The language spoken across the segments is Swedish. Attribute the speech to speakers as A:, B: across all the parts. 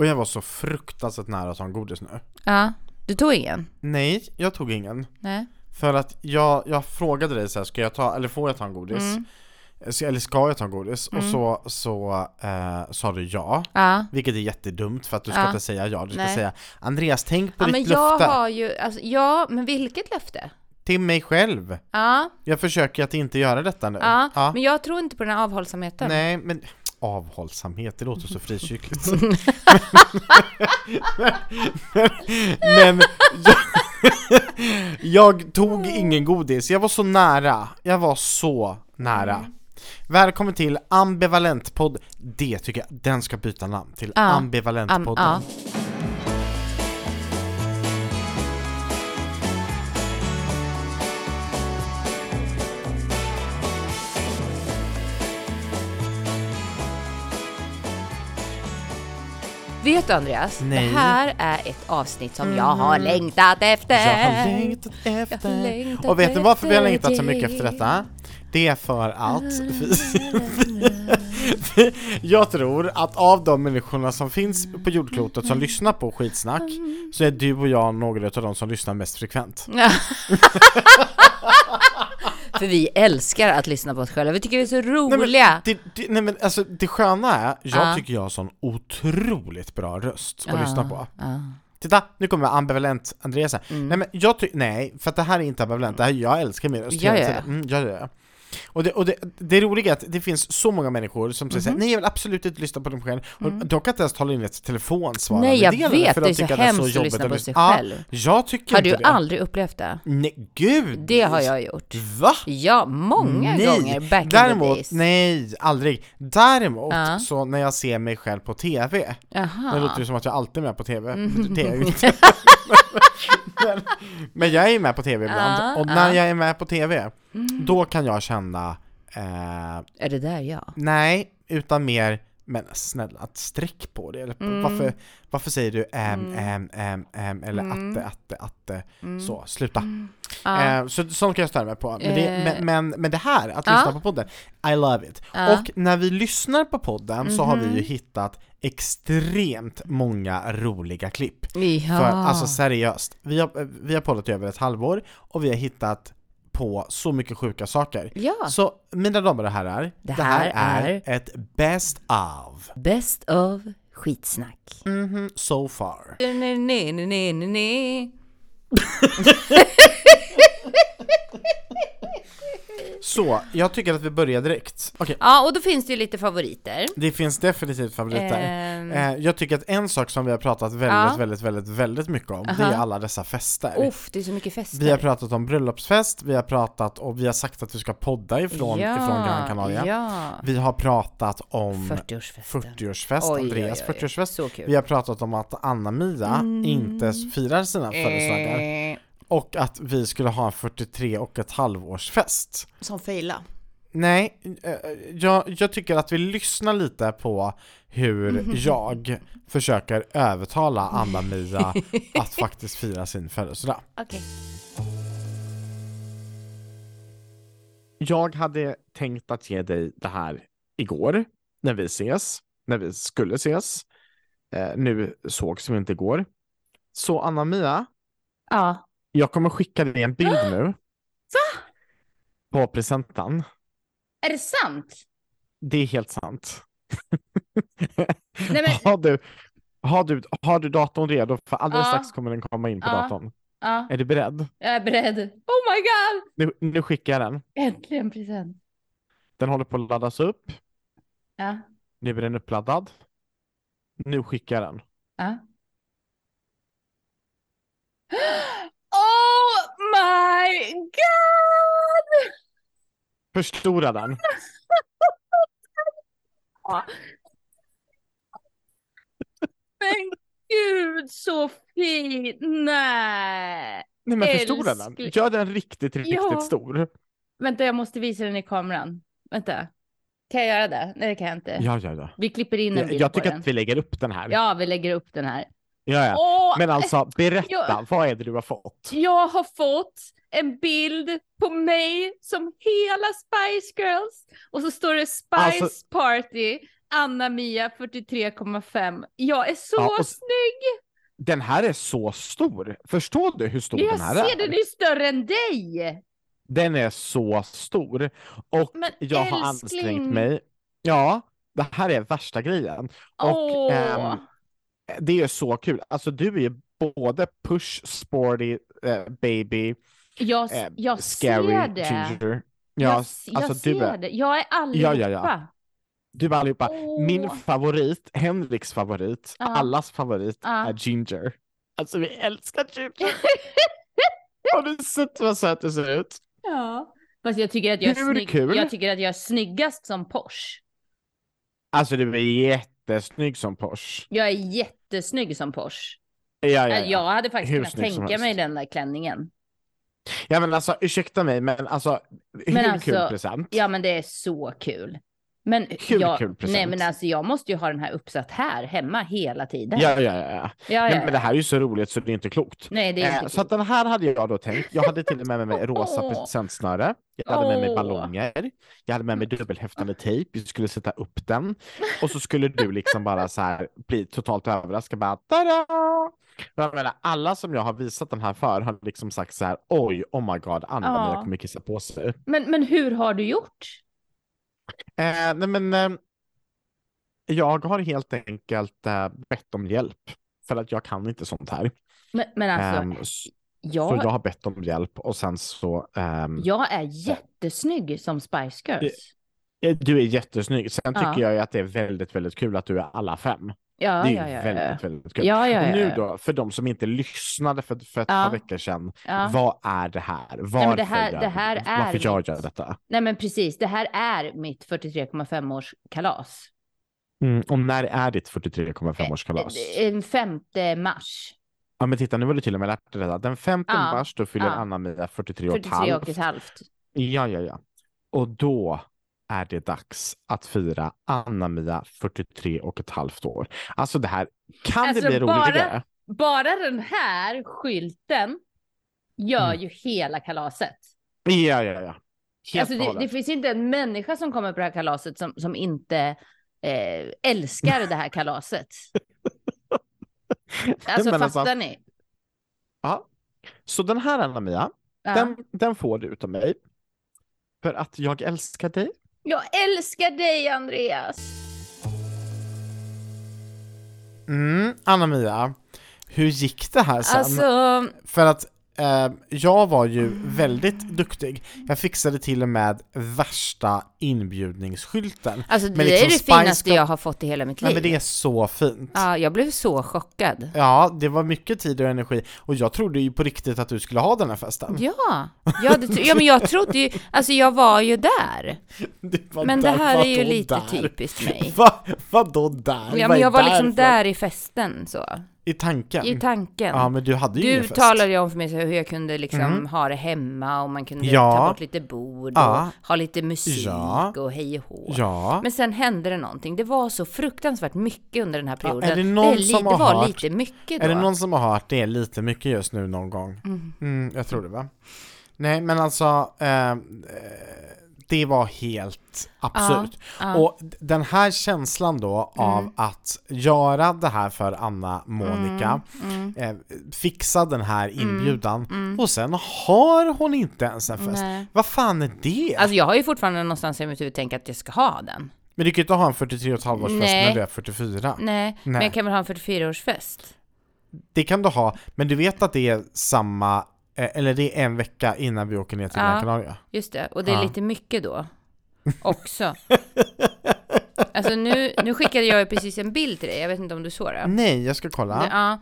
A: Och jag var så fruktansvärt nära att ta en godis nu.
B: Ja. Du tog ingen?
A: Nej, jag tog ingen.
B: Nej.
A: För att jag, jag frågade dig så här, ska jag ta, eller får jag ta en godis?
B: Mm.
A: Så- Eller ska jag ta en godis? Och så, så eh, sa du ja.
B: Ja.
A: Vilket är jättedumt för att du ska
B: Ja.
A: inte säga ja, du ska
B: Nej.
A: säga Andreas tänk på
B: Ja men
A: ditt
B: jag
A: löfte
B: har ju, alltså, ja men vilket löfte?
A: till mig själv.
B: Ja,
A: Jag försöker att inte göra detta nu.
B: ja, men jag tror inte på den här avhållsamheten.
A: Nej men avhållsamhet, det låter så frikyrkligt. men men jag, jag tog ingen godis, jag var så nära. Jag var så nära.
B: Mm.
A: Välkommen till Ambivalentpodd. Det tycker jag, den ska byta namn till
B: Ja. Am-
A: Ambivalentpodden.
B: ja. Vet du Andreas,
A: Nej. Mm.
B: det här är ett avsnitt som jag har längtat efter.
A: Jag har längtat efter.
B: Jag har längtat
A: och vet ni varför vi har längtat så
B: efter
A: mycket efter
B: dig. Ah.
A: detta? Det är för att vi, vi, jag tror att av de människorna som finns på jordklotet som lyssnar på skitsnack så är du och jag några av de som lyssnar mest frekvent.
B: För vi älskar att lyssna på oss själva, vi tycker vi är så
A: Nej, men
B: roliga.
A: Det, det, nej men alltså det sköna är, jag
B: Ja.
A: tycker jag har sån otroligt bra röst att
B: Ja.
A: lyssna på.
B: Ja.
A: Titta, nu kommer ambivalent Andreas här.
B: Mm.
A: Nej men jag tycker, nej, för att det här är inte ambivalent, det här, jag älskar min röst
B: Ja,
A: hela
B: ja, ja.
A: tiden. Mm, ja, ja, ja. Och, det, och det, det roliga är att det finns så många människor som säger såhär,
B: Mhm.
A: nej jag vill absolut inte lyssna på dem själv, och de kan inte ens tala in ett telefonsvarande
B: Mm. Nej jag
A: del,
B: vet,
A: för
B: det
A: de
B: är så
A: tycker att
B: hemskt
A: jobbigt
B: att lyssna på sig
A: Ja,
B: själv.
A: jag tycker
B: Har
A: inte
B: du
A: det.
B: aldrig upplevt det?
A: nej, gud!
B: Det har jag gjort.
A: Va?
B: Ja, många
A: nej.
B: gånger back in the
A: Däremot,
B: days.
A: nej, aldrig. Däremot,
B: Ja.
A: så när jag ser mig själv på TV,
B: Jaha.
A: det låter ju som att jag alltid är med på TV,
B: Mm.
A: men det är jag ju inte. men, men jag är ju med på TV ibland,
B: Ja,
A: och när
B: ja. Mm.
A: jag är med på TV, då kan jag känna, eh,
B: Är det där jag?
A: nej, utan mer, men snälla, att sträck på det, eller på-
B: Mm.
A: varför, varför säger du äm, äm, äm, äm, eller
B: Mm.
A: atte, atte, atte, så, sluta. Eh, så sånt kan jag störa mig på. Men det,
B: Eh.
A: men, men, men det här, att
B: Ja.
A: lyssna på podden, I love it.
B: Ja. Mhm.
A: Och när vi lyssnar på podden så har vi ju hittat extremt många roliga klipp.
B: Ja.
A: För alltså seriöst, vi har, vi har poddat i över ett halvår och vi har hittat på så mycket sjuka saker.
B: ja.
A: Så mina damer och herrar, det, här, är, ett best of
B: Best of skitsnack.
A: Mhm, so far.
B: Ne, ne, ne, ne, ne, ne.
A: Så, jag tycker att vi börjar direkt. Okej,
B: Ja, och då finns det ju lite favoriter.
A: det finns definitivt favoriter.
B: Ehm,
A: Eh, jag tycker att en sak som vi har pratat väldigt,
B: Ja.
A: väldigt, väldigt, väldigt mycket om, det är
B: Aha.
A: alla dessa fester.
B: Uff, det är så mycket fester.
A: Vi har pratat om bröllopsfest, vi har pratat och vi har sagt att vi ska podda ifrån, ifrån Gran Canaria.
B: Ja.
A: Vi har pratat om
B: 40-årsfesten.
A: 40-årsfest,
B: Oj,
A: Andreas
B: oj, oj, oj.
A: 40-årsfest.
B: Så kul. Mm.
A: Vi har pratat om att Anna-Mia inte firar sina födelsedagar
B: Eh,
A: och att vi skulle ha en 43 och ett halvårsfest.
C: Som faila.
A: Nej, eh, jag, jag tycker att vi lyssnar lite på hur
B: Mm.
A: jag försöker övertala Anna-Mia att faktiskt fira sin födelsedag.
C: Okej.
A: Jag hade tänkt att ge dig det här igår, när vi ses, när vi skulle ses. Eh, nu sågs vi inte igår. Så Anna-Mia,
C: Ja.
A: jag kommer skicka dig en bild nu. Va? På presenten.
C: Är det sant?
A: Det är helt sant.
C: Nej men,
A: Har du, har, du, har du datorn redo? För alldeles
C: Ja.
A: strax kommer den komma in på
C: Ja.
A: datorn.
C: ja,
A: Är du beredd?
C: jag är beredd. Oh my god!
A: Nu, nu skickar jag den.
C: Äntligen present.
A: Den håller på att laddas upp.
C: Ja,
A: Nu är den uppladdad. Nu skickar jag den.
C: ja. Oh my god!
A: Förstora den.
C: Men gud så fin! Nej!
A: Nej men förstora den.
C: Älskling.
A: Gör den riktigt, riktigt
C: Ja.
A: stor.
C: Vänta, jag måste visa den i kameran. Vänta. Kan jag göra det? Nej, det kan jag inte.
A: Ja, ja, ja.
C: Vi klipper in en
A: Jag,
C: bild
A: jag
C: på
A: tycker
C: den.
A: att vi lägger upp den här.
C: Ja, vi lägger upp den här.
A: Ja, ja.
C: Åh,
A: Men alltså, berätta.
C: Ja.
A: Vad är det du har fått?
C: Jag har fått en bild på mig som hela Spice Girls och så står det Spice
A: Alltså-
C: Party
B: Anna-Mia 43,5. Jag är så
A: Ja, och-
B: snygg!
A: Den här är så stor. Förstår du hur stor
B: Jag
A: den här
B: ser
A: är?
B: den är större än dig!
A: Den är så stor. Och
B: Men
A: jag har
B: älskling.
A: ansträngt mig. Ja, det här är värsta grejen. Och,
B: Åh,
A: ehm, Det är ju så kul. Alltså du är ju både push, sporty, eh, baby,
B: jag,
A: eh,
B: jag
A: scary,
B: ser det.
A: ginger.
B: jag,
A: Ja,
B: s- jag
A: alltså du
B: ser
A: är,
B: det. Jag är
A: ja,
B: allihopa.
A: ja. du är allihopa. Min
B: Åh.
A: favorit, Henriks favorit,
B: Ja.
A: allas favorit
B: Ja.
A: är Ginger. Alltså vi älskar Ginger. Har du sett vad söt du ser ut?
B: ja. Fast jag tycker, att jag, är
A: Hur
B: snygg,
A: kul?
B: jag tycker att jag är snyggast som Porsche.
A: Alltså du är jättesnygg som Porsche.
B: Jag är jättesnygg som Porsche. Äh,
A: Ja, ja, ja.
B: Jag hade faktiskt
A: Hur
B: kunnat
A: snygg som
B: tänka mig
A: helst.
B: den där klänningen.
A: ja men alltså ursäkta mig men alltså hur
B: Men
A: kul
B: alltså,
A: present?
B: Ja, men det är så kul. Men
A: Kul,
B: jag,
A: kul present.
B: nej, men alltså, jag måste ju ha den här uppsatt här hemma hela tiden.
A: Ja, ja, ja. ja.
B: ja,
A: Nej,
B: ja.
A: men det här är ju så roligt så det är inte klokt.
B: nej det är
A: Eh,
B: inte
A: så att den här hade jag då tänkt. Jag hade till och med med mig rosa
B: Åh.
A: presentsnöre. Jag hade med mig
B: Åh.
A: ballonger. Jag hade med mig dubbelhäftande tejp. Vi skulle sätta upp den. Och så skulle du liksom bara så här bli totalt överraskad. Bara, tada! Jag menar, alla som jag har visat den här för har liksom sagt så här. Oj, oh my god, Anna,
B: Ja.
A: jag kommer kissa på sig.
B: Men, men hur har du gjort?
A: Eh, nej, men eh, jag har helt enkelt eh, bett om hjälp. För att jag kan inte sånt här.
B: Men, men alltså,
A: Ehm, s- Så
B: jag,
A: jag
B: jag...
A: har bett om hjälp och sen så... ehm,
B: är jättesnygg som Spice Girls.
A: eh, Du är jättesnygg. Sen
B: Ja.
A: tycker jag ju att det är väldigt, väldigt kul att du är alla fem.
B: Ja,
A: det är
B: ja,
A: ju
B: ja, ja.
A: väldigt, väldigt kul.
B: Ja, ja,
A: Och
B: ja.
A: nu
B: ja.
A: då, för de som inte lyssnade för, för ett
B: Ja.
A: par veckor sedan.
B: ja.
A: Vad är det här?
B: men det
A: Varför,
B: här-
A: gör,
B: det här
A: vi-
B: är
A: varför jag
B: mitt-
A: gör detta?
B: Nej, men precis. Det här är mitt 43,5 års kalas.
A: Mm. Och när är ditt 43,5-årskalas?
B: Den 5 mars.
A: Ja, men titta, nu har du till och med lärt dig detta. Den 5
B: Ja.
A: mars, då fyller
B: Ja.
A: Anna-Mia 43 och ett
B: 43
A: halvt.
B: och ett halvt.
A: Ja, ja, ja. Och då är det dags att fira Anna-Mia 43 och ett halvt år. Alltså det här, kan det
B: Alltså,
A: bli
B: bara-
A: roligare?
B: Bara den här skylten gör
A: Mm.
B: ju hela kalaset.
A: Ja, ja, ja. Helt
B: Alltså,
A: och
B: det, det
A: hållet.
B: finns inte en människa som kommer på det här kalaset som, som inte eh, älskar det här kalaset. Alltså
A: Men alltså-
B: fattar ni?
A: Ja. Så den här Anna-Mia,
B: Ja.
A: den, den får du utav mig. För att jag älskar dig.
B: Jag älskar dig Andreas.
A: Mm, Anna-Mia, hur gick det här sen?
D: Alltså,
A: För att eh, jag var ju väldigt duktig. Jag fixade till och med värsta inbjudningsskylten.
D: alltså det
A: Men
D: är
A: liksom
D: det
A: Spice
D: finaste
A: Girl-
D: jag har fått i hela mitt
A: Nej,
D: liv.
A: men det är så fint.
D: Ja, jag blev så chockad.
A: Ja, det var mycket tid och energi och jag trodde ju på riktigt att du skulle ha den här festen.
D: Ja, ja, det, tro- ja men jag trodde ju, alltså jag var ju där.
A: Det var
D: Men det
A: där,
D: här är ju
A: vadå
D: lite
A: där?
D: typiskt mig.
A: Va, vadå där?
D: Ja
A: Vad
D: men
A: är
D: jag var liksom
A: för-
D: där i festen så,
A: I tanken?
D: i tanken.
A: ja, men du hade ju ingen
D: Du
A: fest.
D: talade ju om för mig så hur jag kunde liksom
A: Mm.
D: ha det hemma och man kunde
A: Ja.
D: ta bort lite bord och
A: Ja.
D: ha lite musik
A: Ja.
D: och hej och hå.
A: Ja.
D: Men sen hände det någonting. Det var så fruktansvärt mycket under den här perioden.
A: är det någon
D: li-
A: som
D: det
A: har
D: var
A: hört-
D: lite mycket då.
A: Är det någon som har hört det lite mycket just nu någon gång?
D: Mm.
A: Mm, jag tror det va? Nej, men alltså, eh, eh, det var helt absurt.
D: ja. Mm.
A: Och d- den här känslan då av att göra det här för Anna Monica,
D: Mm.
A: eh, fixa den här inbjudan och sen har hon inte ens en fest.
D: Nej.
A: Vad fan är det?
D: Alltså jag har ju fortfarande någonstans i mitt huvud tänkt att jag ska ha den.
A: men du kan ju inte ha en 43,5 årsfest när
D: Nej.
A: du är 44.
D: Nej, men
A: Nej.
D: jag kan väl ha en 44-årsfest?
A: Det kan du ha, men du vet att det är samma, eh, eller det är en vecka innan vi åker ner till
D: Ja.
A: Gran Canaria.
D: Just det, och det är
A: Ja.
D: lite mycket då. Också. alltså nu, nu skickade jag ju precis en bild till dig, jag vet inte om du såg det?
A: Nej, jag ska kolla.
D: Ja.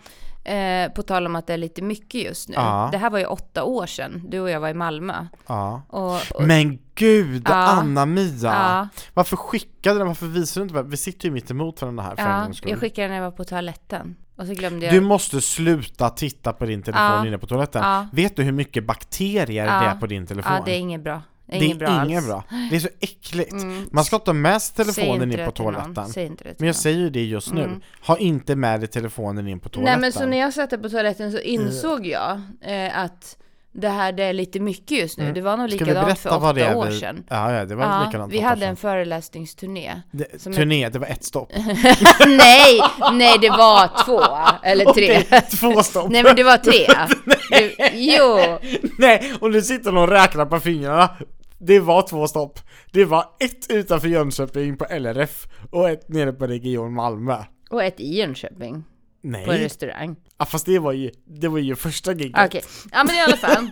D: Eh, på tal om att det är lite mycket just nu.
A: Ja.
D: Det här var ju åtta år sedan du och jag var i Malmö.
A: Ja.
D: Och, och,
A: Men gud,
D: Ja.
A: Anna-Mia!
D: ja,
A: Varför skickade den, varför visade du inte? Vi sitter ju mitt emot varandra här för en
D: ja,
A: gångs skull.
D: jag skickade den när jag var på toaletten. Och så glömde jag.
A: Du måste sluta titta på din telefon
D: Ja.
A: inne på toaletten.
D: Ja.
A: Vet du hur mycket bakterier det
D: Ja.
A: är på din telefon?
D: ja, det är inget bra. Det är
A: Det är
D: inget bra
A: inget
D: alls.
A: bra. Det är så äckligt.
D: Mm.
A: Man ska inte ha med
D: Säg
A: sig telefonen
D: inte
A: in
D: det
A: på
D: till någon.
A: toaletten.
D: Säg inte det till
A: Men jag
D: någon.
A: säger ju det just nu.
B: Mm.
A: Ha inte med dig telefonen in på
D: Nej
A: toaletten.
D: men så när jag satt där på toaletten så insåg jag eh, att
B: det här det är lite mycket just nu.
A: Mm.
B: Det var nog
A: Ska vi berätta
B: likadant för
A: vad det
B: åtta
A: är?
B: år
A: vi-
B: sedan.
A: Ja, ja, det var
B: Ja,
A: likadant.
B: vi
A: åtta år
B: hade
A: sedan.
B: en föreläsningsturné.
A: Det,
B: som-
A: turné, det var ett stopp.
B: nej, nej det var två eller tre.
A: Okej, två stopp.
B: Nej men det var tre. Du, jo,
A: Nej, och nu sitter någon och räknar på fingrarna. Det var två stopp. Det var ett utanför Jönköping på LRF och ett nere på Region Malmö.
B: och ett i Jönköping på en
A: Nej,
B: restaurang.
A: ja, fast det var ju, det var ju första giget.
B: Okej, ja men i alla fall.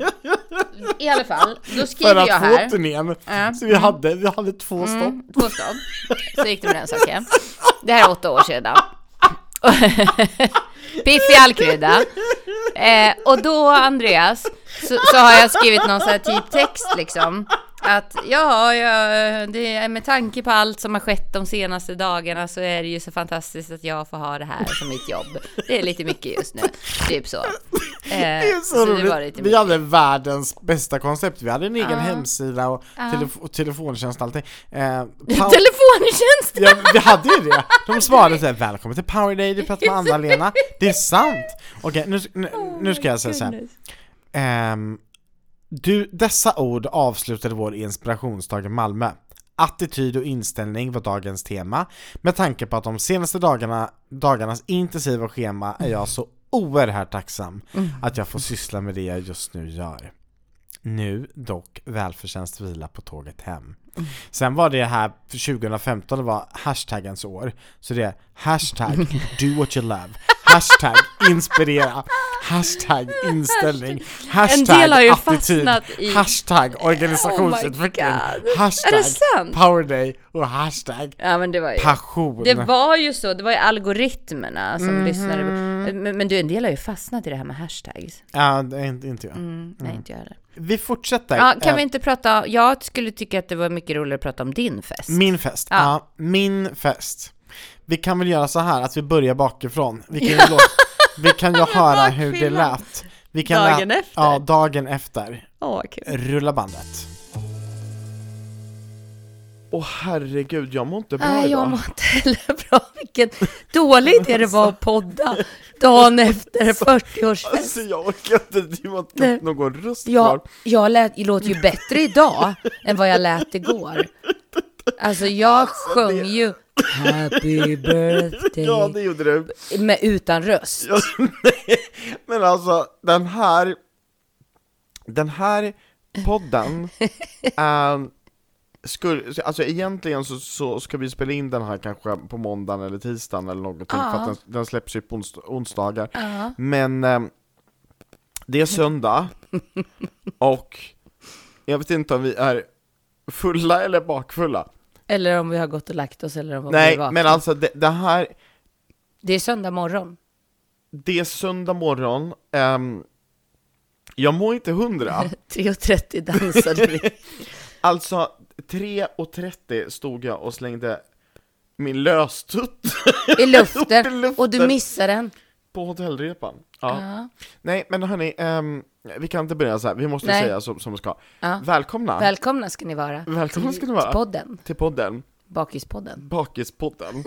B: I alla fall, då
A: För
B: skriver
A: att
B: jag
A: få
B: här.
A: turnén.
B: Ja.
A: Så vi hade, vi hade två stopp.
B: Mm, två stopp. Så gick det med den saken. Det här är åtta år sedan. Piff i all krydda. Eh, och då, Andreas, så, så har jag skrivit någon sån här typ text liksom. Att ja, jag, det är med tanke på allt som har skett de senaste dagarna så är det ju så fantastiskt att jag får ha det här som mitt jobb. Det är lite mycket just nu, typ så. Eh, det
A: Det är så, roligt. vi
B: mycket.
A: hade världens bästa koncept. Vi hade en egen
B: Ja.
A: hemsida och, telef- och telefontjänst och allting. Eh, pow-
B: Telefontjänst!
A: Ja, vi hade ju det! De svarade såhär 'Välkommen till Power Day, du pratar med Anna-Lena' Det är sant! Okej, nu, nu, nu ska jag säga såhär Ehm, du, dessa ord avslutade vår inspirationsdag i Malmö. Attityd och inställning var dagens tema. Med tanke på att de senaste dagarna, dagarnas intensiva schema är jag så oerhört tacksam att jag får syssla med det jag just nu gör. Nu dock välförtjänst vila på tåget hem.
B: Mm.
A: Sen var det här för 2015, det var hashtaggens år. Så det är hashtag do what you love, hashtag inspirera, hashtag inställning, hashtag
B: En del har ju
A: attityd,
B: fastnat i-
A: hashtag organisationsutveckling,
B: Oh my God.
A: hashtag
B: Är det sant?
A: powerday och hashtag
B: Ja men det var ju...
A: passion.
B: Det var ju så, det var ju algoritmerna som
A: Mm.
B: lyssnade. Men, men du, en del har ju fastnat i det här med hashtags.
A: Ja, det är inte, inte jag.
B: Nej, inte jag heller.
A: Vi fortsätter.
B: Mm. Ja, kan
A: Mm. Eh,
B: vi inte prata, jag skulle tycka att det var mycket roligare att prata om din fest.
A: Min fest. Ja.
B: Ja.
A: min fest. Vi kan väl göra så här att vi börjar bakifrån. Vi kan ju, lå- vi kan ju höra hur det
B: bakfyllan.
A: lät. Vi kan
B: Dagen
A: lä-
B: efter.
A: Ja, dagen efter.
B: Åh, kul.
A: Rulla bandet.
E: Åh herregud, jag mår inte bra
B: Nej, jag
E: idag.
B: mår inte heller bra. Vilket dåligt det
A: Alltså.
B: var att podda dagen efter 40-årsfest.
E: Alltså jag orkar inte, det var
B: Nej.
E: knappt någon röst kvar.
B: Jag, jag lät, jag låter ju bättre idag än vad jag lät igår. Alltså jag sjöng ju Happy
E: Ja
B: birthday
E: det gjorde du.
B: med, utan röst.
E: Ja, nej. Men alltså den här, den här podden, um, skulle, alltså egentligen så, så ska vi spela in den här kanske på måndagen eller tisdagen eller någonting för
B: Ja.
E: att den, den släpps ju på ons, onsdagar.
B: Ja.
E: Men ehm, det är söndag och jag vet inte om vi är fulla eller bakfulla.
B: Eller om vi har gått och lagt oss eller om vi
E: Nej,
B: var.
E: men alltså det, det här,
B: Det är söndag morgon.
E: det är söndag morgon, ehm, jag mår inte hundra.
B: 3.30 dansade vi.
E: Alltså, 3.30 stod jag och slängde min löstutt
B: I luften.
E: I luften.
B: Och du missade den.
E: på hotellrepan. Ja.
B: Ja.
E: Nej, men hörni, ehm, vi kan inte börja så här. vi måste
B: Nej.
E: säga som, som vi ska.
B: Ja.
E: Välkomna
B: Välkomna ska ni vara.
E: Välkomna ska ni
B: till
E: vara.
B: podden.
E: till podden,
B: Bakispodden.
E: Bakispodden.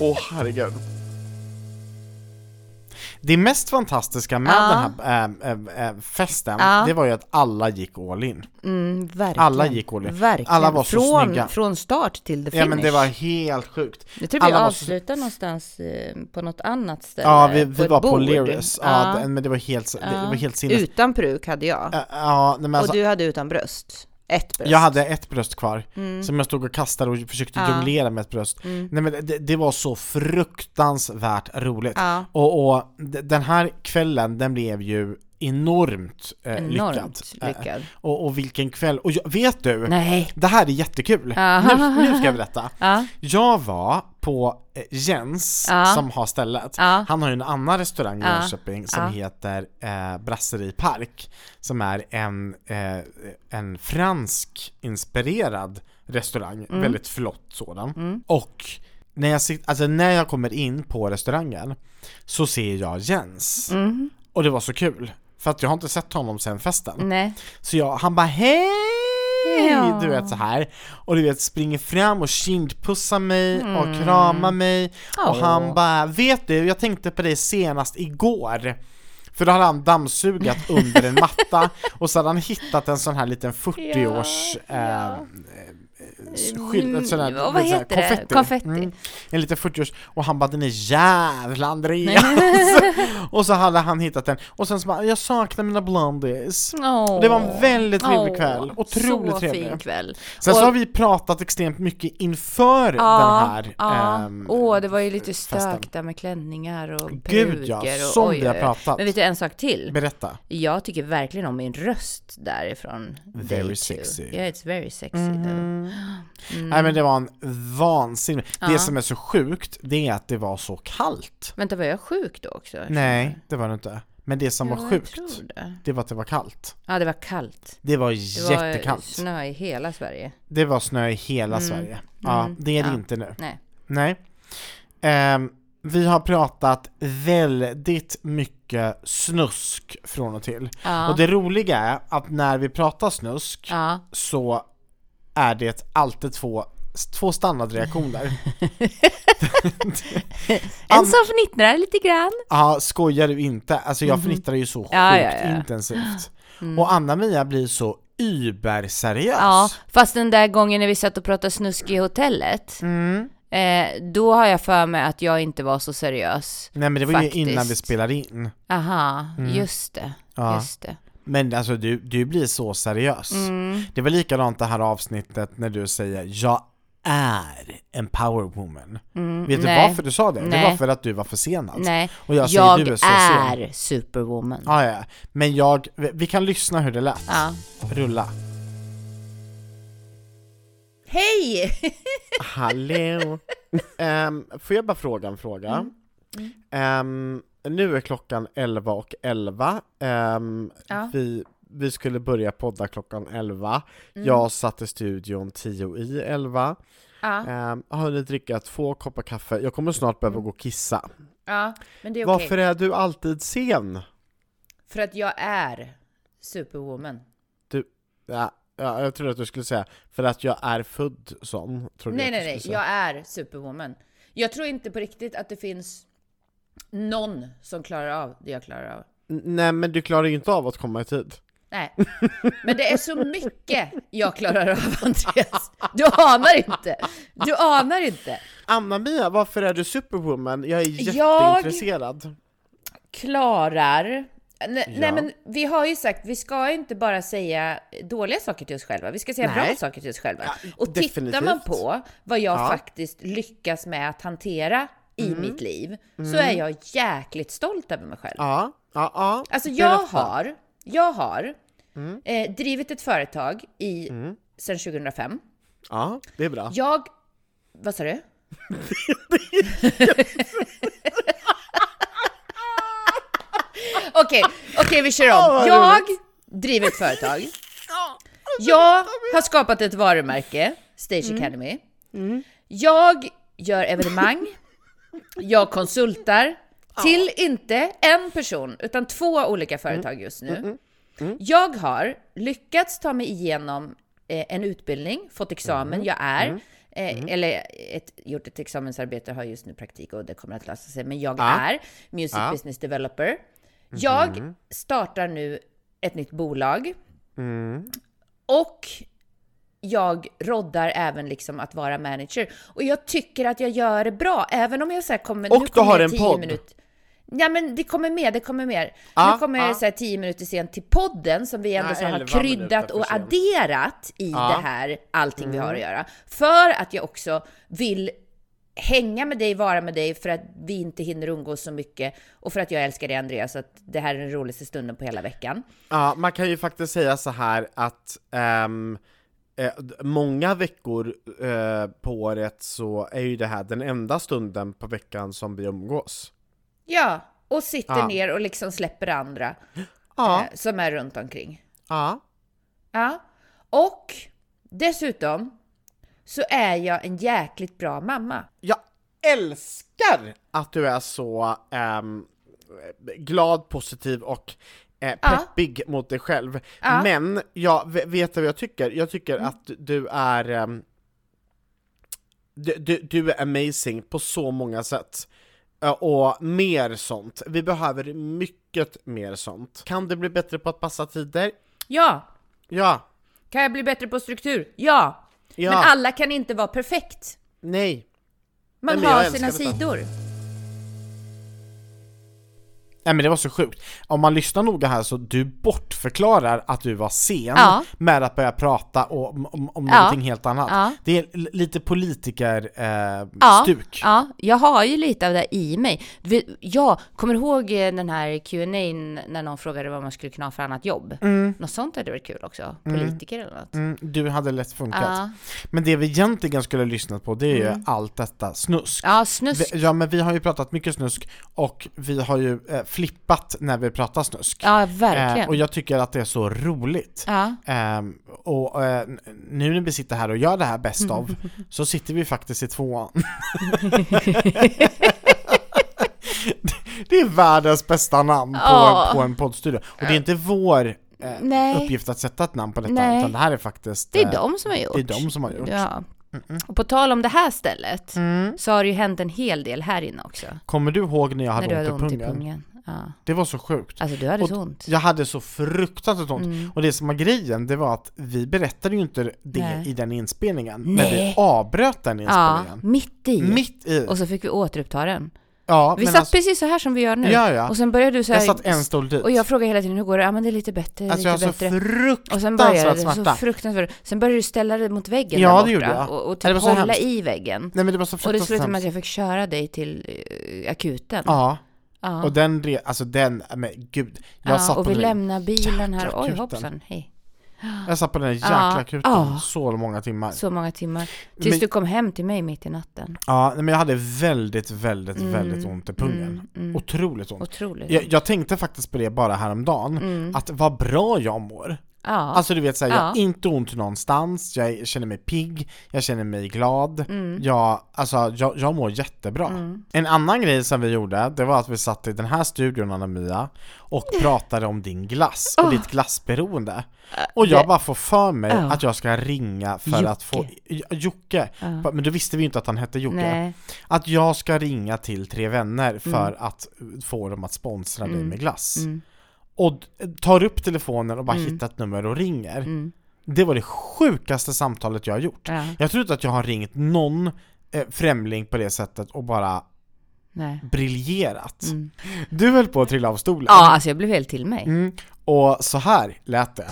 E: Åh herregud.
A: Det mest fantastiska med
B: Ja.
A: den här
E: ehm,
A: äh, festen,
B: Ja.
A: det var ju att alla gick all in.
B: Mm, verkligen.
A: Alla gick all in.
B: Verkligen.
A: Alla var så
B: från,
A: snygga.
B: Från start till the finish.
A: Ja men det var helt sjukt.
B: Jag tror vi
A: alla var så-
B: avslutar någonstans eh, på något annat ställe.
A: Ja, vi, vi
B: ett
A: var på
B: bord.
A: Learys, ja, det- men det var helt, det
B: Ja.
A: var helt sinnes...
B: Utan pruk hade jag.
A: Ja, Ja, nej, men alltså,
B: Och du hade utan bröst. Ett bröst.
A: Jag hade ett bröst kvar, som jag stod och kastade och försökte
B: Mm. Ja. Mm.
A: jonglera med ett bröst. Nej men det, det var så fruktansvärt roligt.
B: Ja.
A: Och, och d- den här kvällen, den blev ju enormt, eh,
B: Enormt
A: lyckad.
B: lyckad.
A: Eh, och, och vilken kväll, och jag, vet du?
B: Nej.
A: Det här är jättekul!
B: Ja.
A: Nu, nu ska jag berätta.
B: Ja.
A: Jag var på eh, Jens,
B: Ja.
A: som har stället,
B: Ja.
A: han har ju en annan restaurang i
B: Ja.
A: Jönköping som
B: Ja.
A: heter eh, Brasserie Park, som är en, eh, en fransk inspirerad restaurang,
B: Mm.
A: väldigt flott sådan. Och när jag, sit, alltså när jag kommer in på restaurangen så ser jag Jens.
B: Mm.
A: Och det var så kul, för att jag har inte sett honom sen festen.
B: Nej.
A: Så jag, han bara hej!
B: Ja.
A: Du vet så här Och du vet springer fram och kindpussar mig och
B: Mm.
A: kramar mig Och
B: Åh.
A: han bara, vet du jag tänkte på dig senast igår
F: För då hade han dammsugat under en matta och så hade han hittat en sån här liten 40-års...
B: Ja,
F: eh,
B: ja.
F: s- skylt- ett sånt här-
B: Mm, och
F: sån
B: vad
F: här
B: heter det? Konfetti.
F: Mm, en liten 40-års, och han bara den är jävla Andreas! och så hade han hittat den, och sen så bara jag saknar mina blondies.
B: Åh.
F: Det var en väldigt trevlig
B: Åh,
F: kväll, otroligt
B: så
F: trevlig.
B: fin kväll.
F: Sen så
B: Och-
F: har vi pratat extremt mycket inför den här
B: ja.
A: Mm,
F: ehm,
B: Åh, det var ju lite
F: festen.
B: stök där med klänningar och
F: Gud ja,
B: peruker och
F: som
B: oj,
F: vi har
B: oj, oj.
F: pratat.
B: Men vet du en sak till?
F: Berätta.
B: Jag tycker verkligen om min röst därifrån. day
F: Very
B: two.
F: sexy.
B: Yeah, it's very sexy.
F: Nej men det var en vansinnig...
B: Mm. Ja.
F: Det som är så sjukt, det är att det var så kallt.
B: Vänta, var jag sjuk då också?
F: Nej, det var det inte. Men det som var
B: jag
F: sjukt,
B: tror det.
F: det var att det var kallt.
B: Ja, det var kallt.
F: Det var
B: Det var
F: jättekallt.
B: snö i hela Sverige.
F: Det var snö i hela Sverige. Ja, det är det
B: Mm. Ja.
F: inte nu.
B: Nej.
F: Nej. Ehm, vi har pratat väldigt mycket snusk från och till.
B: Ja.
F: Och det roliga är att när vi pratar snusk
B: Ja.
F: så är det alltid två, två standardreaktioner.
B: En som fnittrar lite grann.
F: Ja, skojar du inte? Alltså jag fnittrar ju så sjukt
B: Mhm. Ja, ja, ja. Mm.
F: intensivt. Och Anna-Mia blir så überseriös.
B: Ja, fast den där gången när vi satt och pratade snusk i hotellet.
F: Mm.
B: Eh, då har jag för mig att jag inte var så seriös.
F: Nej men det var
B: Faktiskt.
F: ju innan vi spelade in.
B: Aha, just det.
F: Mm. Ja.
B: Just det.
F: Men alltså du, du blir så seriös.
B: Mm,
F: Det var likadant det här avsnittet när du säger jag är en power woman. Vet du
B: nej.
F: varför du sa det? Det
B: Nej.
F: var för att du var försenad.
B: Nej,
F: Och jag säger
B: jag
F: du är så sen.
B: är superwoman.
F: Ja, ja. Men jag, vi kan lyssna hur det lät.
B: Ja.
F: Rulla.
B: Hej!
F: Hallå! Ehm, får jag bara fråga en fråga?
B: Mm.
F: Ehm, nu är klockan 11 och 11. Ehm,
B: Ja.
F: vi, vi skulle börja podda klockan 11.
B: Mm.
F: Jag satt i studion 10 i 11.
B: Ja. Mm.
F: Ehm, har hunnit dricka två koppar kaffe. Jag kommer snart behöva gå och kissa.
B: ja, men det är
F: Varför är du alltid sen?
B: För att jag är superwoman.
F: Du, ja, ja, jag trodde att du skulle säga för att jag är född sån. Trodde
B: Nej,
F: jag att
B: nej,
F: du
B: nej.
F: skulle
B: Jag är superwoman. Jag tror inte på riktigt att det finns någon som klarar av det jag klarar av.
F: säga. N- Nej, men du klarar ju inte av att komma i tid.
B: Nej, men det är så mycket jag klarar av, Andreas. Du anar inte. Du anar inte.
F: Anna-Mia, varför är du superwoman? Jag är
B: Jag-
F: jätteintresserad.
B: Klarar. Nej,
F: Ja.
B: nej, men vi har ju sagt, vi ska ju inte bara säga dåliga saker till oss själva. Vi ska säga bra
F: Nej.
B: saker till oss själva.
F: Ja,
B: och tittar
F: definitivt.
B: man på vad jag
F: Ja. Mm.
B: faktiskt lyckas med att hantera i mitt liv, så är jag jäkligt stolt över mig själv.
F: Ja, ja, ja.
B: Alltså jag
F: Berätta.
B: har, jag har
F: Mm.
B: eh, drivit ett företag i, sedan 2005.
F: Ja, det är bra.
B: Jag, vad sa du? Okej, okej vi kör
F: Åh,
B: om.
F: vad
B: Jag driver ett företag. Jag har skapat ett varumärke, Stage Academy. Jag gör evenemang. Jag konsultar till inte en person, utan två olika företag just nu.
F: Mm.
B: Jag har lyckats ta mig igenom eh, en utbildning, fått examen,
F: Mm.
B: jag är. Eh, Eller ett, gjort ett examensarbete, har just nu praktik och det kommer att lösa sig. Men jag är Music
F: Ja. Mm.
B: Business Developer. Jag startar nu ett nytt bolag.
F: Mm.
B: Och jag roddar även liksom att vara manager. Och jag tycker att jag gör det bra, även om jag så här kommer...
F: Och
B: nu
F: du har
B: kommer jag
F: en
B: 10
F: podd.
B: minut- Ja men det kommer mer, det kommer mer.
F: Ja,
B: nu kommer jag
F: ja.
B: så här 10 minuter sent till podden som vi ändå
F: Ja,
B: så har
F: 11
B: kryddat
F: minuter
B: och
F: för sent.
B: adderat i
F: Ja. Mm.
B: det här, allting vi har att göra. För att jag också vill hänga med dig, vara med dig för att vi inte hinner umgås så mycket och för att jag älskar dig Andreas, att det här är den roligaste stunden på hela veckan.
F: Ja, man kan ju faktiskt säga så här att ehm, eh, d- många veckor eh, på året så är ju det här den enda stunden på veckan som vi umgås.
B: Ja, och sitter
F: Ja.
B: ner och liksom släpper andra
F: Ja,
B: eh, som är runt omkring.
F: ja.
B: Ja. Och dessutom så är jag en jäkligt bra mamma.
F: Jag älskar att du är så ehm, glad, positiv och eh, peppig mot dig själv.
B: Ja. Mm.
F: Men jag v- vet du vad jag tycker? Jag tycker att du är ehm, du, du, du är amazing på så många sätt. eh, och mer sånt. Vi behöver mycket mer sånt. Kan du bli bättre på att passa tider?
B: Ja!
F: Ja.
B: Kan jag bli bättre på struktur? Ja!
F: Ja.
B: Men alla kan inte vara perfekt.
F: Nej.
B: Man
F: Nej, men jag
B: har
F: älskar
B: sina
F: detta.
B: sidor.
F: Nej men det var så sjukt. Om man lyssnar noga här så du bortförklarar att du var sen
B: Ja.
F: med att börja prata om, om, om
B: Ja.
F: någonting helt annat.
B: Ja.
F: Det är l- lite politiker eh,
B: Ja,
F: stuk.
B: ja, jag har ju lite av det i mig. Du vet, Jag kommer du ihåg eh, den här Q&A när någon frågade vad man skulle kunna ha för annat jobb. Något sånt hade varit kul också. Politiker eller något.
F: Mm, du hade lätt funkat.
B: Ja. Mm.
F: Men det vi egentligen skulle ha lyssnat på det är ju allt detta snusk.
B: Ja, snusk.
F: Vi, ja men vi har ju pratat mycket snusk och vi har ju eh, flippat när vi pratar snusk.
B: Ja,
F: Eh, och
B: verkligen.
F: jag tycker att det är så roligt.
B: Ja.
F: Ehm, och eh, n- nu när vi sitter här och gör det här bäst av så sitter vi faktiskt i tvåan. det är världens bästa namn på,
B: Ja.
F: på en poddstudio. Och det är inte vår eh,
B: Nej.
F: uppgift att sätta ett namn på detta
B: Nej.
F: utan det här är faktiskt...
B: Det
F: eh,
B: är de som har gjort.
F: det är de som har gjort.
B: Ja. Och på tal om det här stället så har det ju hänt en hel del här inne också.
F: Kommer du ihåg när jag hade,
B: när du hade
F: ont, i pungen?
B: Ja.
F: Det var så sjukt.
B: Alltså du hade
F: Och-
B: så ont.
F: Jag hade så fruktansvärt ont.
B: Mm.
F: Och det som var grejen, det var att vi berättade ju inte det
B: Nej.
F: i den inspelningen. Men vi
B: Nej.
F: avbröt den
B: Ja,
F: inspelningen.
B: mitt i.
F: Mitt i.
B: Och så fick vi återuppta den.
F: ja,
B: Vi
F: men
B: satt
F: alltså,
B: precis så här som vi gör nu.
F: Ja, ja.
B: Och sen började du så här,
F: jag satt en stol dit.
B: Och jag frågade hela tiden hur går det? Ja men det är lite bättre,
F: alltså jag har
B: lite
F: så
B: bättre.
F: fruktansvärt
B: och sen började det så
F: smärta.
B: fruktansvärt. Sen började du ställa dig mot väggen
F: Ja,
B: där
F: det
B: borta
F: gjorde jag.
B: och, och
F: Ja, det
B: typ
F: var så
B: hålla
F: hemskt.
B: i väggen.
F: Nej men det var så
B: Och det
F: fruktansvärt
B: slutade med att
F: hemskt.
B: jag fick köra dig till eh, akuten.
F: Ja,
B: Ja.
F: och den, re- alltså den, men gud. Jag,
B: Ja,
F: satt på
B: och vi
F: den,
B: lämnar bilen här. Oj
F: akuten.
B: hoppsan, hej.
F: jag satt på den där jäkla
B: Ja.
F: akuten
B: Ja.
F: så många timmar.
B: Så många timmar. Tills
F: Men-
B: du kom hem till mig mitt i natten.
F: Ja, nej, men jag hade väldigt, väldigt, väldigt ont i pungen. Otroligt ont.
B: Mm, Otroligt. Mm.
F: Jag, jag tänkte faktiskt på det bara häromdagen, att vad bra jag mår.
B: ja.
F: Alltså du vet såhär, jag har
B: Ja.
F: inte ont någonstans, jag känner mig pigg, jag känner mig glad,
B: Mm.
F: jag, alltså, jag, jag mår jättebra. En annan grej som vi gjorde, det var att vi satt i den här studion Anna-Mia och pratade om din glass och ditt glassberoende. Och jag
B: det-
F: bara får för mig
B: Ja.
F: att jag ska ringa för att få, J- Jocke, men då visste vi ju inte att han hette Jocke
B: Nej.
F: att jag ska ringa till Tre
B: Mm.
F: Vänner för att få dem att sponsra dig med glass.
B: Mm.
F: Och d- tar upp telefonen och bara hittar ett nummer och ringer. Det var det sjukaste samtalet jag har gjort.
B: Mm. Ja.
F: Jag tror inte att jag har ringt någon eh, främling på det sättet och bara
B: Nej.
F: briljerat. Du höll på att trilla av stolen.
B: Mm. Ja, alltså jag blev helt till mig.
F: Mm. Och så här lät det.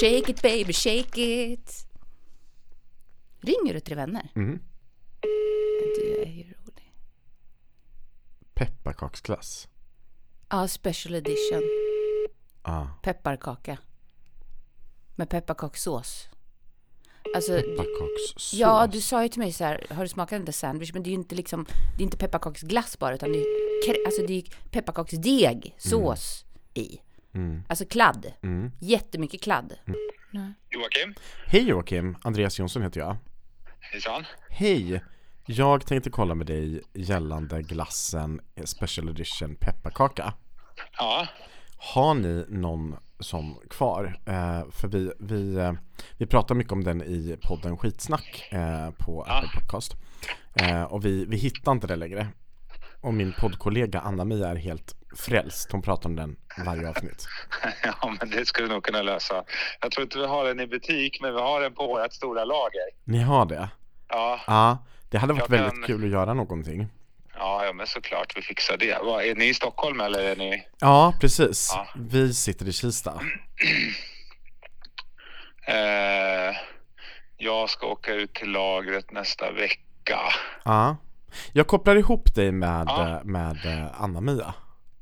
B: Shake it baby, shake it. Ringer du till vänner?
F: Mm.
B: Du är ju rolig.
F: Pepparkaksglass.
B: Ja, special edition.
F: Ah.
B: Pepparkaka. Med pepparkakssås. Alltså,
F: Pepparkakssås.
B: ja du sa ju till mig så här, har du smakat den där sandwich? Men det är ju inte liksom, det är inte pepparkaksglass bara utan det är, krä- alltså det är ju pepparkaksdeg,
F: Mm.
B: sås i. Alltså kladd. Jättemycket kladd.
F: Mm.
G: Joakim,
F: Hej Joakim, Andreas Jonsson heter jag.
G: hejsan.
F: Hej! Jag tänkte kolla med dig gällande glassen Special Edition pepparkaka.
G: Ja,
F: Har ni någon sån kvar? Eh, för vi, vi, eh, vi pratar mycket om den i podden Skitsnack eh, på Apple Podcast. Eh, och vi, vi hittar inte det längre. Och min poddkollega Anna-Mia är helt frälst. Hon pratar om den varje avsnitt.
G: ja men det skulle du nog kunna lösa. Jag tror inte vi har den i butik, men vi har den på vårt stora lager.
F: Ni har det?
G: Ja,
F: Ja, det hade varit
G: Jag kan-
F: väldigt kul att göra någonting.
G: ja, ja men såklart vi fixar det. Vad, är ni i Stockholm eller är ni...
F: Ja, precis.
G: Ja.
F: Vi sitter i Kista.
G: Eh, jag ska åka ut till lagret nästa vecka.
F: Ja. Jag kopplar ihop dig med,
G: Ja.
F: eh, med eh, Anna-Mia.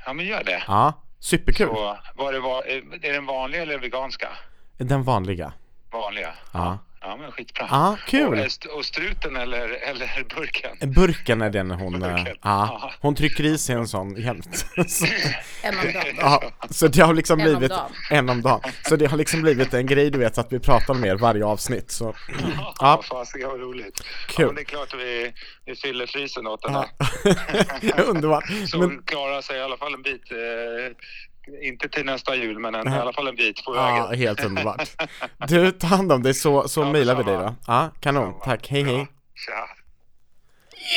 G: Ja men gör det.
F: Ja, superkul.
G: Så, var det var, eh, är den vanliga eller veganska?
F: Den vanliga.
G: Vanliga.
F: Ja.
G: Ja men skitbra.
F: Ja, kul.
G: Och, eh, st- och struten eller, eller burken?
F: Burken är den hon, eh,
G: Burken.
F: ja,
G: Ja.
F: hon trycker i sig en sån jämt. Så,
B: En om dagen.
F: ja, så det har liksom
B: En om
F: blivit
B: dagen.
F: en om dagen. Så det har liksom blivit en grej du vet att vi pratar om er varje avsnitt. Så ja,
G: Vad fasiken vad roligt.
F: Kul.
G: Ja, men det är klart att vi, vi fyller frysen åt den här.
F: underbart.
G: Så
F: Men,
G: klarar sig i alla fall en bit eh, inte till nästa jul, men en, i
F: Nej.
G: alla fall en bit på vägen.
F: Ja, helt underbart. Du, ta hand om dig så, så
G: Ja,
F: mejlar vi dig
G: detsamma.
F: då. Ja, kanon. Tack, hej hej.
G: Tja.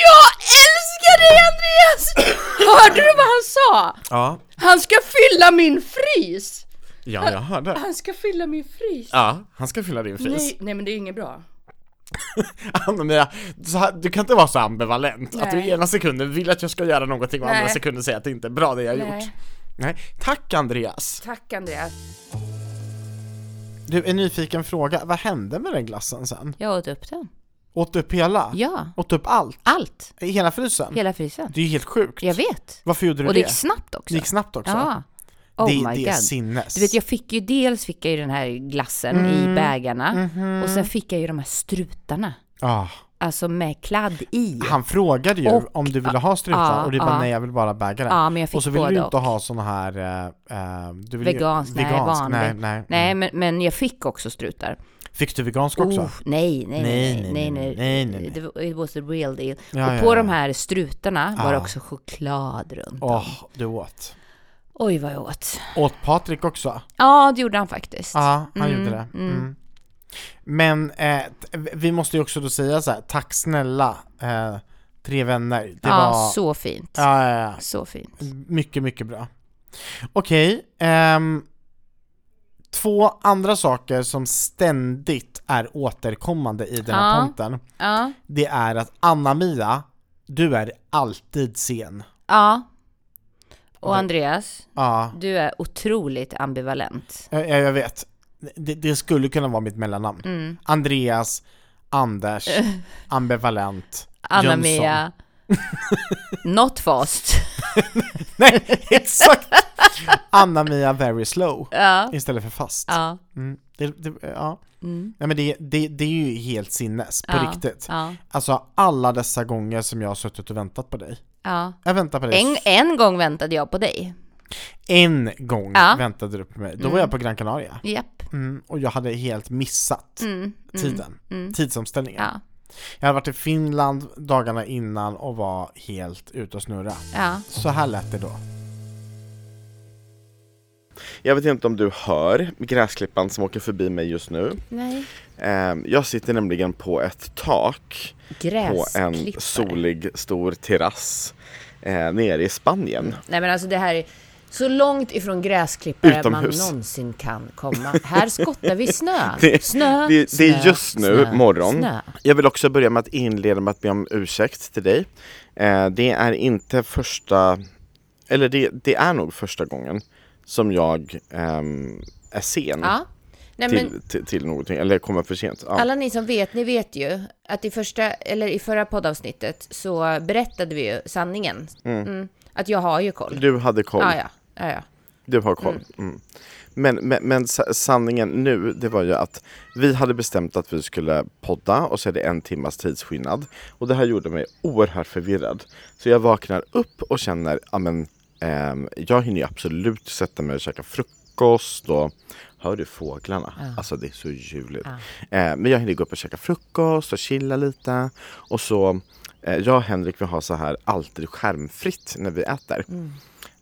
B: Jag älskar dig Andreas! Hörde du vad han sa?
F: Ja,
B: Han ska fylla min frys!
F: ja jag hörde.
B: Han ska fylla min frys!
F: Ja, han ska fylla din frys.
B: Nej, nej men det är inget bra.
F: Anna-Mia, så här- du kan inte vara så ambivalent. Att du
B: Nej.
F: ena sekunden vill att jag ska göra någonting och andra
B: Nej.
F: sekunden säger att det inte är bra det jag har
B: Nej.
F: gjort. Nej. Tack Andreas!
B: Tack Andreas.
F: Du, en nyfiken fråga. Vad hände med den glassen sen?
B: Jag åt upp den.
F: Åt du upp hela?
B: Ja,
F: Åt du upp allt?
B: allt.
F: I Hela frysen?
B: Hela frysen.
F: Det är ju helt sjukt.
B: Jag vet.
F: Varför gjorde du
B: Och det
F: det?
B: gick snabbt också.
F: Det gick snabbt också.
B: Ja. Oh
F: det,
B: my
F: det är
B: god.
F: sinnes.
B: Du vet jag fick ju dels fick jag ju den här glassen
F: Mm.
B: i bägarna och
F: Mm-hmm.
B: sen fick jag ju de här strutarna.
F: Ah.
B: Alltså med kladd i.
F: Han frågade ju
B: Och-
F: om du ville ha strutar
B: ja,
F: och du bara
B: ja.
F: nej jag vill bara bägaren.
B: Ja, men jag fick
F: och så ville du
B: både
F: inte
B: och.
F: ha sån här... eh, eh, du ville ju-
B: Vegansk, nej, vanlig.
F: nej, nej,
B: Nej
F: mm.
B: men, men jag fick också strutar.
F: Fick du vegansk också?
B: Oh, nej, nej, nej, nej, nej,
F: nej, nej.
B: Det var- It was the real deal.
F: Ja,
B: och
F: ja,
B: på
F: ja. Ah.
B: de här strutarna var det
F: Ja.
B: också choklad runt.
F: Åh, du åt.
B: Oj vad jag åt.
F: Åt Patrik också?
B: Ja, det gjorde han faktiskt.
F: Ja, han gjorde det. Mm. Men eh, t- vi måste ju också då säga så här, tack snälla eh, tre vänner.
B: ja,
F: Det var...
B: så fint.
F: Ja, Mm. ja, ja.
B: Så fint.
F: Mycket, mycket bra. Okej, ehm, två andra saker som ständigt är återkommande i den här
B: Ja.
F: tomten,
B: Ja,
F: det är att Anna-Mia, du är alltid sen.
B: ja. Och Andreas,
F: Ja,
B: du är otroligt ambivalent.
F: jag, jag vet. Det, det skulle kunna vara mitt mellannamn.
B: Mm.
F: Andreas, Anders, ambivalent, Jönsson.
B: Anna-Mia, not fast.
F: Nej, exakt! Anna-Mia very slow
B: Ja,
F: istället för fast.
B: ja,
F: Mm. Det, det, ja.
B: Mm.
F: Nej, men det, det, det är ju helt sinnes, på
B: Ja,
F: riktigt.
B: ja,
F: Alltså alla dessa gånger som jag har suttit och väntat på dig.
B: ja.
F: Jag väntar på dig.
B: En, en gång väntade jag på dig.
F: En gång
B: Ja. Mm.
F: väntade du på mig. Då var jag på Gran Canaria.
B: Japp.
F: Mm. Och jag hade helt missat
B: Mm,
F: tiden.
B: mm.
F: Tidsomställningen.
B: Ja,
F: Jag hade varit i Finland dagarna innan och var helt ute och snurra.
B: ja.
F: Så här lät det då.
A: Jag vet inte om du hör gräsklippan som åker förbi mig just nu.
B: Nej.
A: Ehm, Jag sitter nämligen på ett tak på en
B: Gräsklippare.
A: solig stor terrass eh, nere i Spanien.
C: Nej men alltså det här är så långt ifrån gräsklippare
A: Utomhus.
C: man någonsin kan komma. Här skottar vi snö.
A: Det-
C: Snö,
A: det-
C: snö,
A: det är just nu
C: snö,
A: morgon.
C: Snö.
A: Jag vill också börja med att inleda med att be om ursäkt till dig. Eh, det är inte första, eller det, det är nog första gången som jag ehm, är sen
C: Ja. Nej, men,
A: till, till, till någonting, eller kommer för sent. Ja.
C: Alla ni som vet, ni vet ju att i första, eller i förra poddavsnittet så berättade vi ju sanningen. Mm. Att jag har ju koll.
A: Du hade koll,
C: Ja, ja, ja, ja.
A: du har koll. Mm. Men, men, men sa- sanningen nu, det var ju att vi hade bestämt att vi skulle podda och så är det en timmas tidsskillnad. Och det här gjorde mig oerhört förvirrad. Så jag vaknar upp och känner, ja men ehm, jag hinner ju absolut sätta mig och käka frukost och Hör du fåglarna? Alltså det är så ljuvligt. Eh, men jag hinner gå upp och käka frukost och chilla lite. Och så, eh, jag och Henrik vi har så här alltid skärmfritt när vi äter.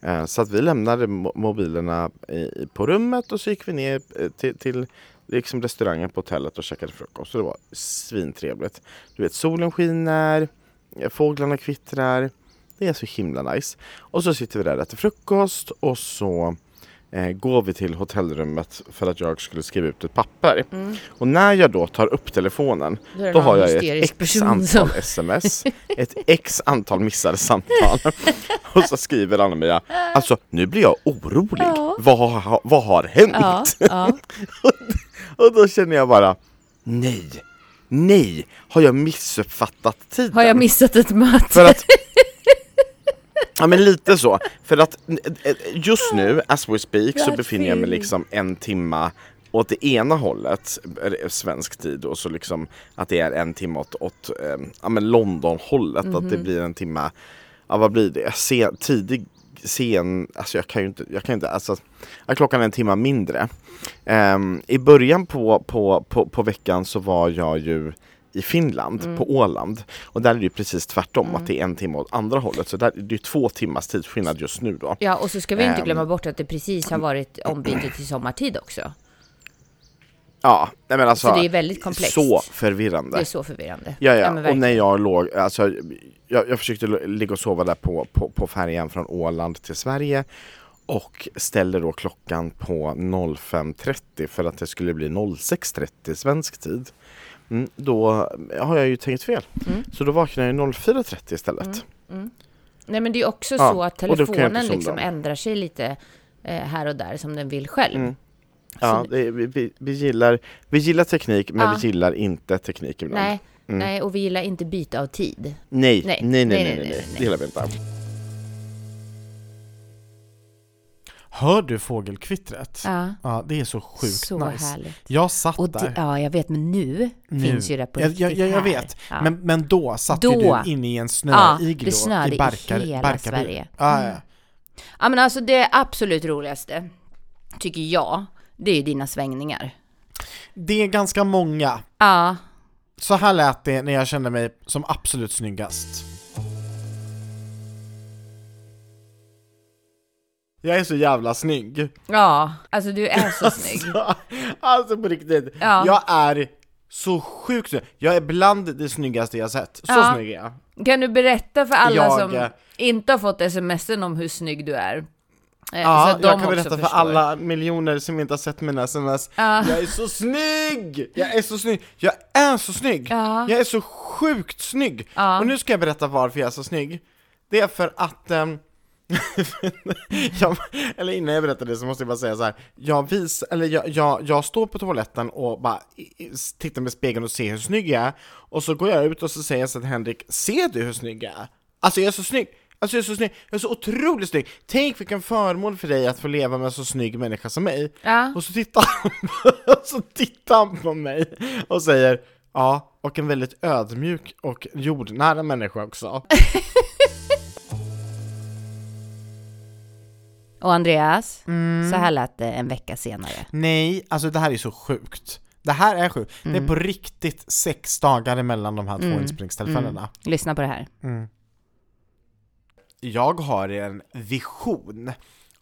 A: Eh, Så att vi lämnade mo- mobilerna i- i- på rummet och så gick vi ner eh, till, till liksom restaurangen på hotellet och käkade frukost. Och det var svintrevligt. Du vet, solen skiner, eh, fåglarna kvittrar. Det är så himla nice. Och så sitter vi där och äter frukost och så eh, går vi till hotellrummet för att jag skulle skriva ut ett papper. Och när jag då tar upp telefonen
C: Mm. Då är det
A: då
C: någon
A: har jag ju
C: hysterisk
A: ett x
C: person
A: antal
C: som-
A: sms, ett x antal missade samtal. Och så skriver Anna-Mia, alltså nu blir jag orolig. Vad, har, vad har hänt?
B: Ja, ja.
A: Och då känner jag bara, nej, nej, har jag missuppfattat tiden?
B: Har jag missat ett möte?
A: För att... Ja men lite så. För att eh, just nu, as we speak, så
B: Bad
A: befinner jag mig
B: feeling.
A: liksom en timma åt det ena hållet, eh, svensk tid, och så liksom att det är en timme åt, åt eh, ja, men London-hållet. Att
B: Mhm.
A: det blir en timma, ja vad blir det, sen, tidig, sen, alltså jag kan ju inte, jag kan inte, alltså ja, klockan är en timma mindre. Ehm, I början på, på, på, på veckan så var jag ju i Finland,
C: Mm.
A: på Åland. Och där är det ju precis tvärtom, att det är en timme åt andra hållet. Så där, det är ju två timmars tidsskillnad just nu då.
C: Ja, och så ska vi inte
A: Ehm.
C: glömma bort att det precis har varit ombyte till sommartid också.
A: Ja, nej men alltså.
C: Så det är väldigt komplext.
A: Så förvirrande.
C: Det är så förvirrande.
A: Ja, ja.
C: men
A: och
C: verkligen.
A: när jag låg, alltså, jag, jag försökte lo- ligga och sova där på, på, på färjan från Åland till Sverige och ställde då klockan på 05.30 för att det skulle bli 06.30 svensk tid. Mm, då har jag ju tänkt fel.
C: Mm.
A: Så då vaknade jag 04.30 istället.
C: Nej, men det är också
A: Ja,
C: så att
A: och då kan jag inte
C: telefonen
A: somna
C: liksom
A: om.
C: ändrar sig lite eh, här och där som den vill själv.
A: Mm, Ja, det, vi, vi, vi, gillar, vi gillar teknik men
C: Ja.
A: vi gillar inte teknik ibland.
C: Nej,
A: Mm.
C: nej, och vi gillar inte byte av tid.
A: Nej, nej,
C: Nej,
A: nej, nej,
C: nej,
A: nej,
C: nej, nej,
A: det gillar vi inte.
F: Hör du fågelkvittret?
C: Ja.
F: Ja, det är så sjukt
C: Så
F: nice.
C: härligt.
F: Jag satt
C: Och det,
F: där.
C: ja, jag vet, men nu,
F: nu.
C: finns ju det på
F: jag,
C: riktigt
F: jag, jag, jag
C: här.
F: vet,
C: Ja.
F: men, men då satt ju
C: Då.
F: du inne i en
C: Ja,
F: snöigloo
C: det snöade
F: i,
C: i
F: Barkar,
C: hela
F: Barkarby.
C: Sverige. Mm.
F: Ja, ja.
B: Ja men alltså det absolut roligaste, tycker jag, det är ju dina svängningar.
F: Det är ganska många.
B: Ja,
F: Så här lät det när jag kände mig som absolut snyggast.
A: Jag är så jävla snygg.
B: ja, alltså du är så snygg.
A: Alltså på riktigt,
B: Ja.
A: jag är så sjukt snygg. Jag är bland det snyggaste jag sett. Så
B: Ja.
A: snygg är jag.
B: Kan du berätta för alla
A: Jag, eh,
B: som inte har fått smsen om hur snygg du är? Eh,
A: Ja,
B: så att de
A: jag kan
B: också
A: berätta för
B: förstår.
A: alla miljoner som inte har sett mina sms. Jag är så snygg! Jag är så snygg! Jag är så snygg!
B: Ja.
A: Jag är så sjukt snygg! Och nu ska jag berätta varför jag är så snygg. Det är för att ehm, jag, eller innan jag berättar det så måste jag bara säga så här. Jag, vis, eller jag, jag, jag står på toaletten och bara i- i- tittar med spegeln och ser hur snygg jag är. Och så går jag ut och så säger jag så till Henrik, ser du hur snygg jag är? Alltså jag är så snygg! Alltså jag är så snygg, jag är så otroligt snygg! Tänk vilken förmån för dig att få leva med en så snygg människa som mig.
B: Ja.
A: Och så tittar, han, och så tittar han på mig och säger Ja, och en väldigt ödmjuk och jordnära människa också.
B: Och Andreas,
F: Mm.
B: så här lät det en vecka senare.
F: Nej, alltså det här är så sjukt. Det här är sjukt. Det
C: Mm.
F: är på riktigt sex dagar emellan de här två inspelningstillfällena.
B: Lyssna på det här.
F: jag har en vision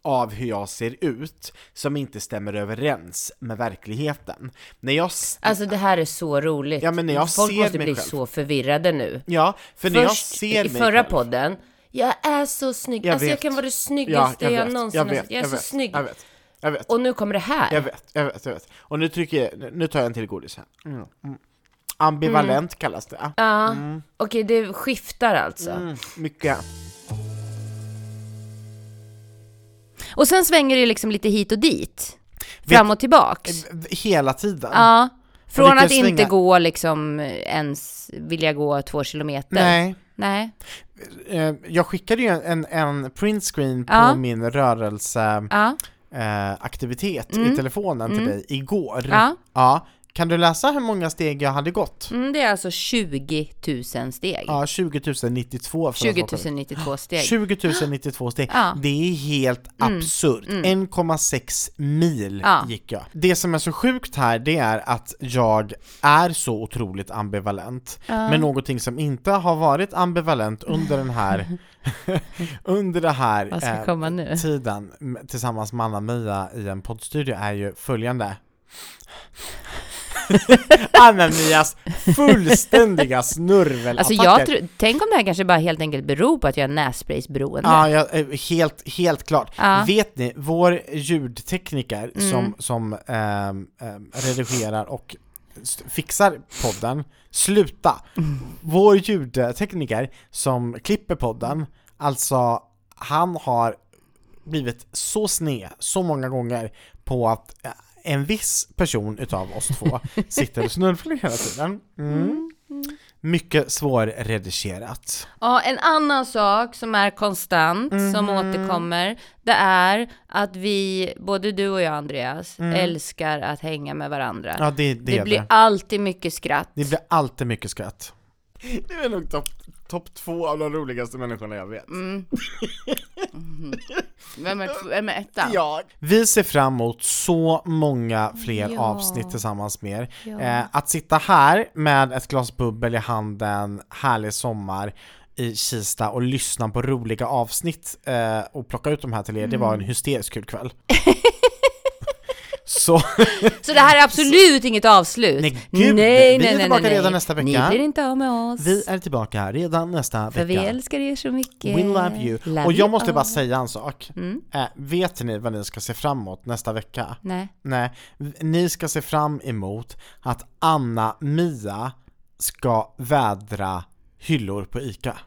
F: av hur jag ser ut som inte stämmer överens med verkligheten. När jag... s-
C: Alltså det här är så roligt.
F: Ja, men när jag
C: Folk
F: ser
C: måste
F: mig
C: bli
F: själv.
C: så förvirrade nu.
F: Ja, för när jag
C: Först
F: ser
C: i
F: mig
C: förra
F: själv-
C: podden, jag är så snygg,
F: Jag
C: alltså
F: vet.
C: jag kan vara det
F: Ja,
C: snyggaste
F: jag
C: jag,
F: vet,
C: någonsin
F: jag
C: har
F: vet,
C: sett, jag är
F: jag
C: så
F: vet,
C: snygg.
F: jag vet, jag vet.
C: Och nu kommer det här.
F: Jag vet, jag vet, jag vet. Och nu trycker jag, nu tar jag en till godis här. Mm. Mm. Ambivalent kallas det.
C: Mm. Ja, okej det skiftar alltså.
F: Mm, mycket.
B: Och sen svänger det liksom lite hit och dit. Fram och tillbaks.
F: V- Hela tiden.
B: Ja. Från
F: Eh, kan
B: att inte
F: svänga-
B: gå liksom ens vilja gå två kilometer.
F: Nej.
B: Nej.
F: Eh, Jag skickade ju en, en printscreen på
B: Ja.
F: min rörelse...
B: Ja.
F: eh, aktivitet i telefonen till dig igår.
B: Mm. Ja.
F: Ja. Kan du läsa hur många steg jag hade gått?
B: Mm, det är alltså 20 000 steg.
F: Ja, 20 092 för
B: 20
F: att vara korrekt.
B: 092 steg.
F: 20 092 steg.
B: Ja. Mm.
F: Det är helt absurt. 1,6 mil
B: Ja.
F: gick jag. Det som är så sjukt här det är att jag är så otroligt ambivalent. Men någonting som inte har varit ambivalent under den här under det här
B: Vad ska
F: eh,
B: komma nu?
F: tiden m- tillsammans med Anna-Mia i en poddstudio är ju följande Anna-Mias fullständiga snurvelattacker!
B: Alltså jag tror, tänk om det här kanske bara helt enkelt beror på att jag är nässpraysberoende.
F: Ja, ja, eh, helt, helt klart.
B: Ja. Mm.
F: Vet ni, vår ljudtekniker som, som ehm, ehm, redigerar och s- fixar podden, sluta!
B: Mm.
F: Vår ljudtekniker som klipper podden, alltså han har blivit så sned så många gånger på att eh, en viss person utav oss två sitter och snurflar hela tiden. Mm. Mycket svårredigerat.
B: Ja, en annan sak som är konstant, som
F: Mhm.
B: återkommer, det är att vi, både du och jag Andreas, älskar att hänga med varandra.
F: Mm. Ja, det, det,
B: det
F: är
B: blir
F: det.
B: alltid mycket skratt.
F: Det blir alltid mycket skratt.
B: Mm.
A: Du är nog topp top två av de roligaste människorna jag vet.
B: Vem är, tw- vem är ettan?
A: Jag.
F: Vi ser fram emot så många fler
B: Ja.
F: avsnitt tillsammans med er.
B: Ja.
F: Eh, att sitta här med ett glas bubbel i handen, härlig sommar i Kista och lyssna på roliga avsnitt eh, och plocka ut de här till er, det var
B: Mm.
F: en hysterisk kul kväll. så
B: Så det här är absolut inget avslut.
F: Nej, gud, vi är tillbaka redan nästa vecka.
B: Ni blir inte av med oss.
F: vi är tillbaka redan nästa
B: för vi
F: vecka.
B: älskar er så mycket.
F: We love you.
B: Eh, Love
F: och jag
B: you
F: måste bara
B: all.
F: säga en sak. Eh, vet ni vad ni ska se fram emot nästa vecka?
B: Nej.
F: Nej, ni ska se fram emot att Anna-Mia ska vädra hyllor på ICA.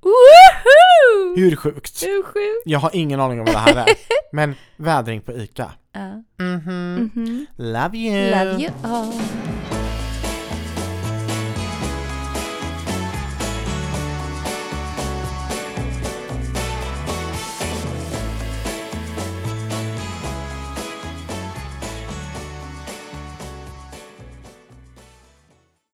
B: Woohoo!
F: Hur sjukt?
B: Hur sjukt?
F: Jag har ingen aning om vad det här är, men vädring på ICA. Mhm.
B: Ja.
F: Love you!
B: Love you all.